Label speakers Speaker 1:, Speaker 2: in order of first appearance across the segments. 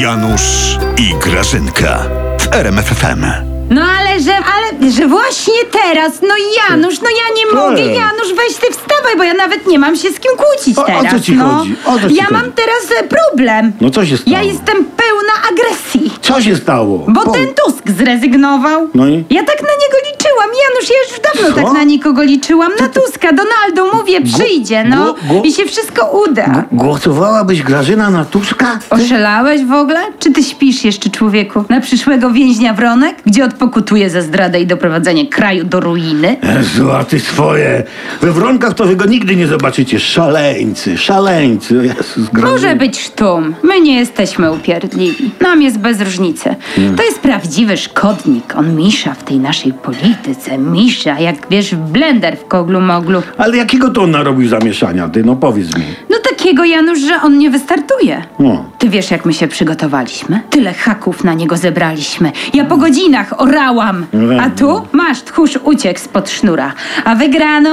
Speaker 1: Janusz i Grażynka w RMFFM.
Speaker 2: No ale że, ale że właśnie teraz, no Janusz, no ja nie mogę, Janusz, weź ty wstawaj, bo ja nawet nie mam się z kim kłócić
Speaker 3: O- o co
Speaker 2: teraz.
Speaker 3: ci
Speaker 2: no.
Speaker 3: chodzi? O co ci
Speaker 2: ja
Speaker 3: chodzi?
Speaker 2: mam teraz e, problem.
Speaker 3: No co się stało?
Speaker 2: Ja jestem pełna agresji.
Speaker 3: Co się stało?
Speaker 2: Bo
Speaker 3: Po-
Speaker 2: ten Tusk zrezygnował.
Speaker 3: No i?
Speaker 2: Ja tak na niego liczyłam, Janusz, ja już dawno
Speaker 3: Co?
Speaker 2: tak na nikogo liczyłam. Na Tuska, Donaldo, mówię, przyjdzie, no.
Speaker 3: gu- gu-
Speaker 2: I się wszystko uda.
Speaker 3: Głosowałabyś Grażyna na Tuska?
Speaker 2: Oszalałeś w ogóle? Czy ty śpisz jeszcze, człowieku? Na przyszłego więźnia Wronek, gdzie odpokutuje za zdradę i doprowadzenie kraju do ruiny?
Speaker 3: Jezu, a ty swoje. We wronkach to wy go nigdy nie zobaczycie. Szaleńcy, szaleńcy. O Jezus, Grażyna.
Speaker 2: Może być sztum. My nie jesteśmy upierdliwi. Nam jest bez różnicy. To jest prawdziwy szkodnik. On misza w tej naszej polityce. Misza, jak wiesz, w blender w koglu moglu.
Speaker 3: Ale jakiego to on narobił zamieszania, ty? No powiedz mi.
Speaker 2: No takiego, Janusz, że on nie wystartuje.
Speaker 3: No.
Speaker 2: Ty wiesz, jak my się przygotowaliśmy? Tyle haków na niego zebraliśmy. Ja po godzinach orałam.
Speaker 3: No.
Speaker 2: A tu masz tchórz uciekł spod sznura. A wygraną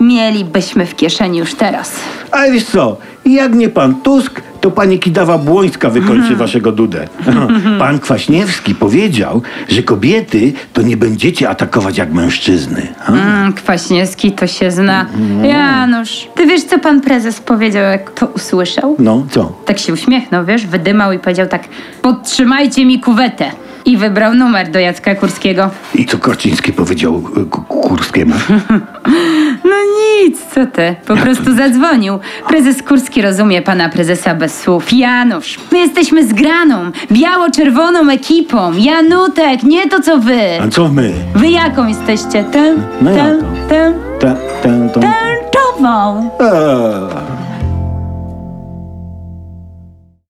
Speaker 2: mielibyśmy w kieszeni już teraz.
Speaker 3: Ale wiesz co, jak nie pan Tusk, to pani Kidawa Błońska wykończy
Speaker 2: Mhm.
Speaker 3: waszego dudę. No, pan Kwaśniewski powiedział, że kobiety to nie będziecie atakować jak mężczyzny. A?
Speaker 2: Mm, Kwaśniewski to się zna.
Speaker 3: No.
Speaker 2: Janusz, ty wiesz, co pan prezes powiedział, jak to usłyszał?
Speaker 3: No, co?
Speaker 2: Tak się uśmiechnął, wiesz, wydymał i powiedział tak podtrzymajcie mi kuwetę. I wybrał numer do Jacka Kurskiego.
Speaker 3: I co Korciński powiedział y, Ku- Kurskiemu?
Speaker 2: No nic, co ty? Po prostu zadzwonił. Prezes Kurski rozumie pana prezesa bez słów. Janusz, my jesteśmy zgraną, biało-czerwoną ekipą. Janutek, nie to co wy.
Speaker 3: A co my?
Speaker 2: Wy jaką jesteście? Tę,
Speaker 3: No
Speaker 2: tę,
Speaker 3: jaką?
Speaker 2: tę,
Speaker 3: Tę, tę, tą...
Speaker 2: tęczową.
Speaker 3: Eee.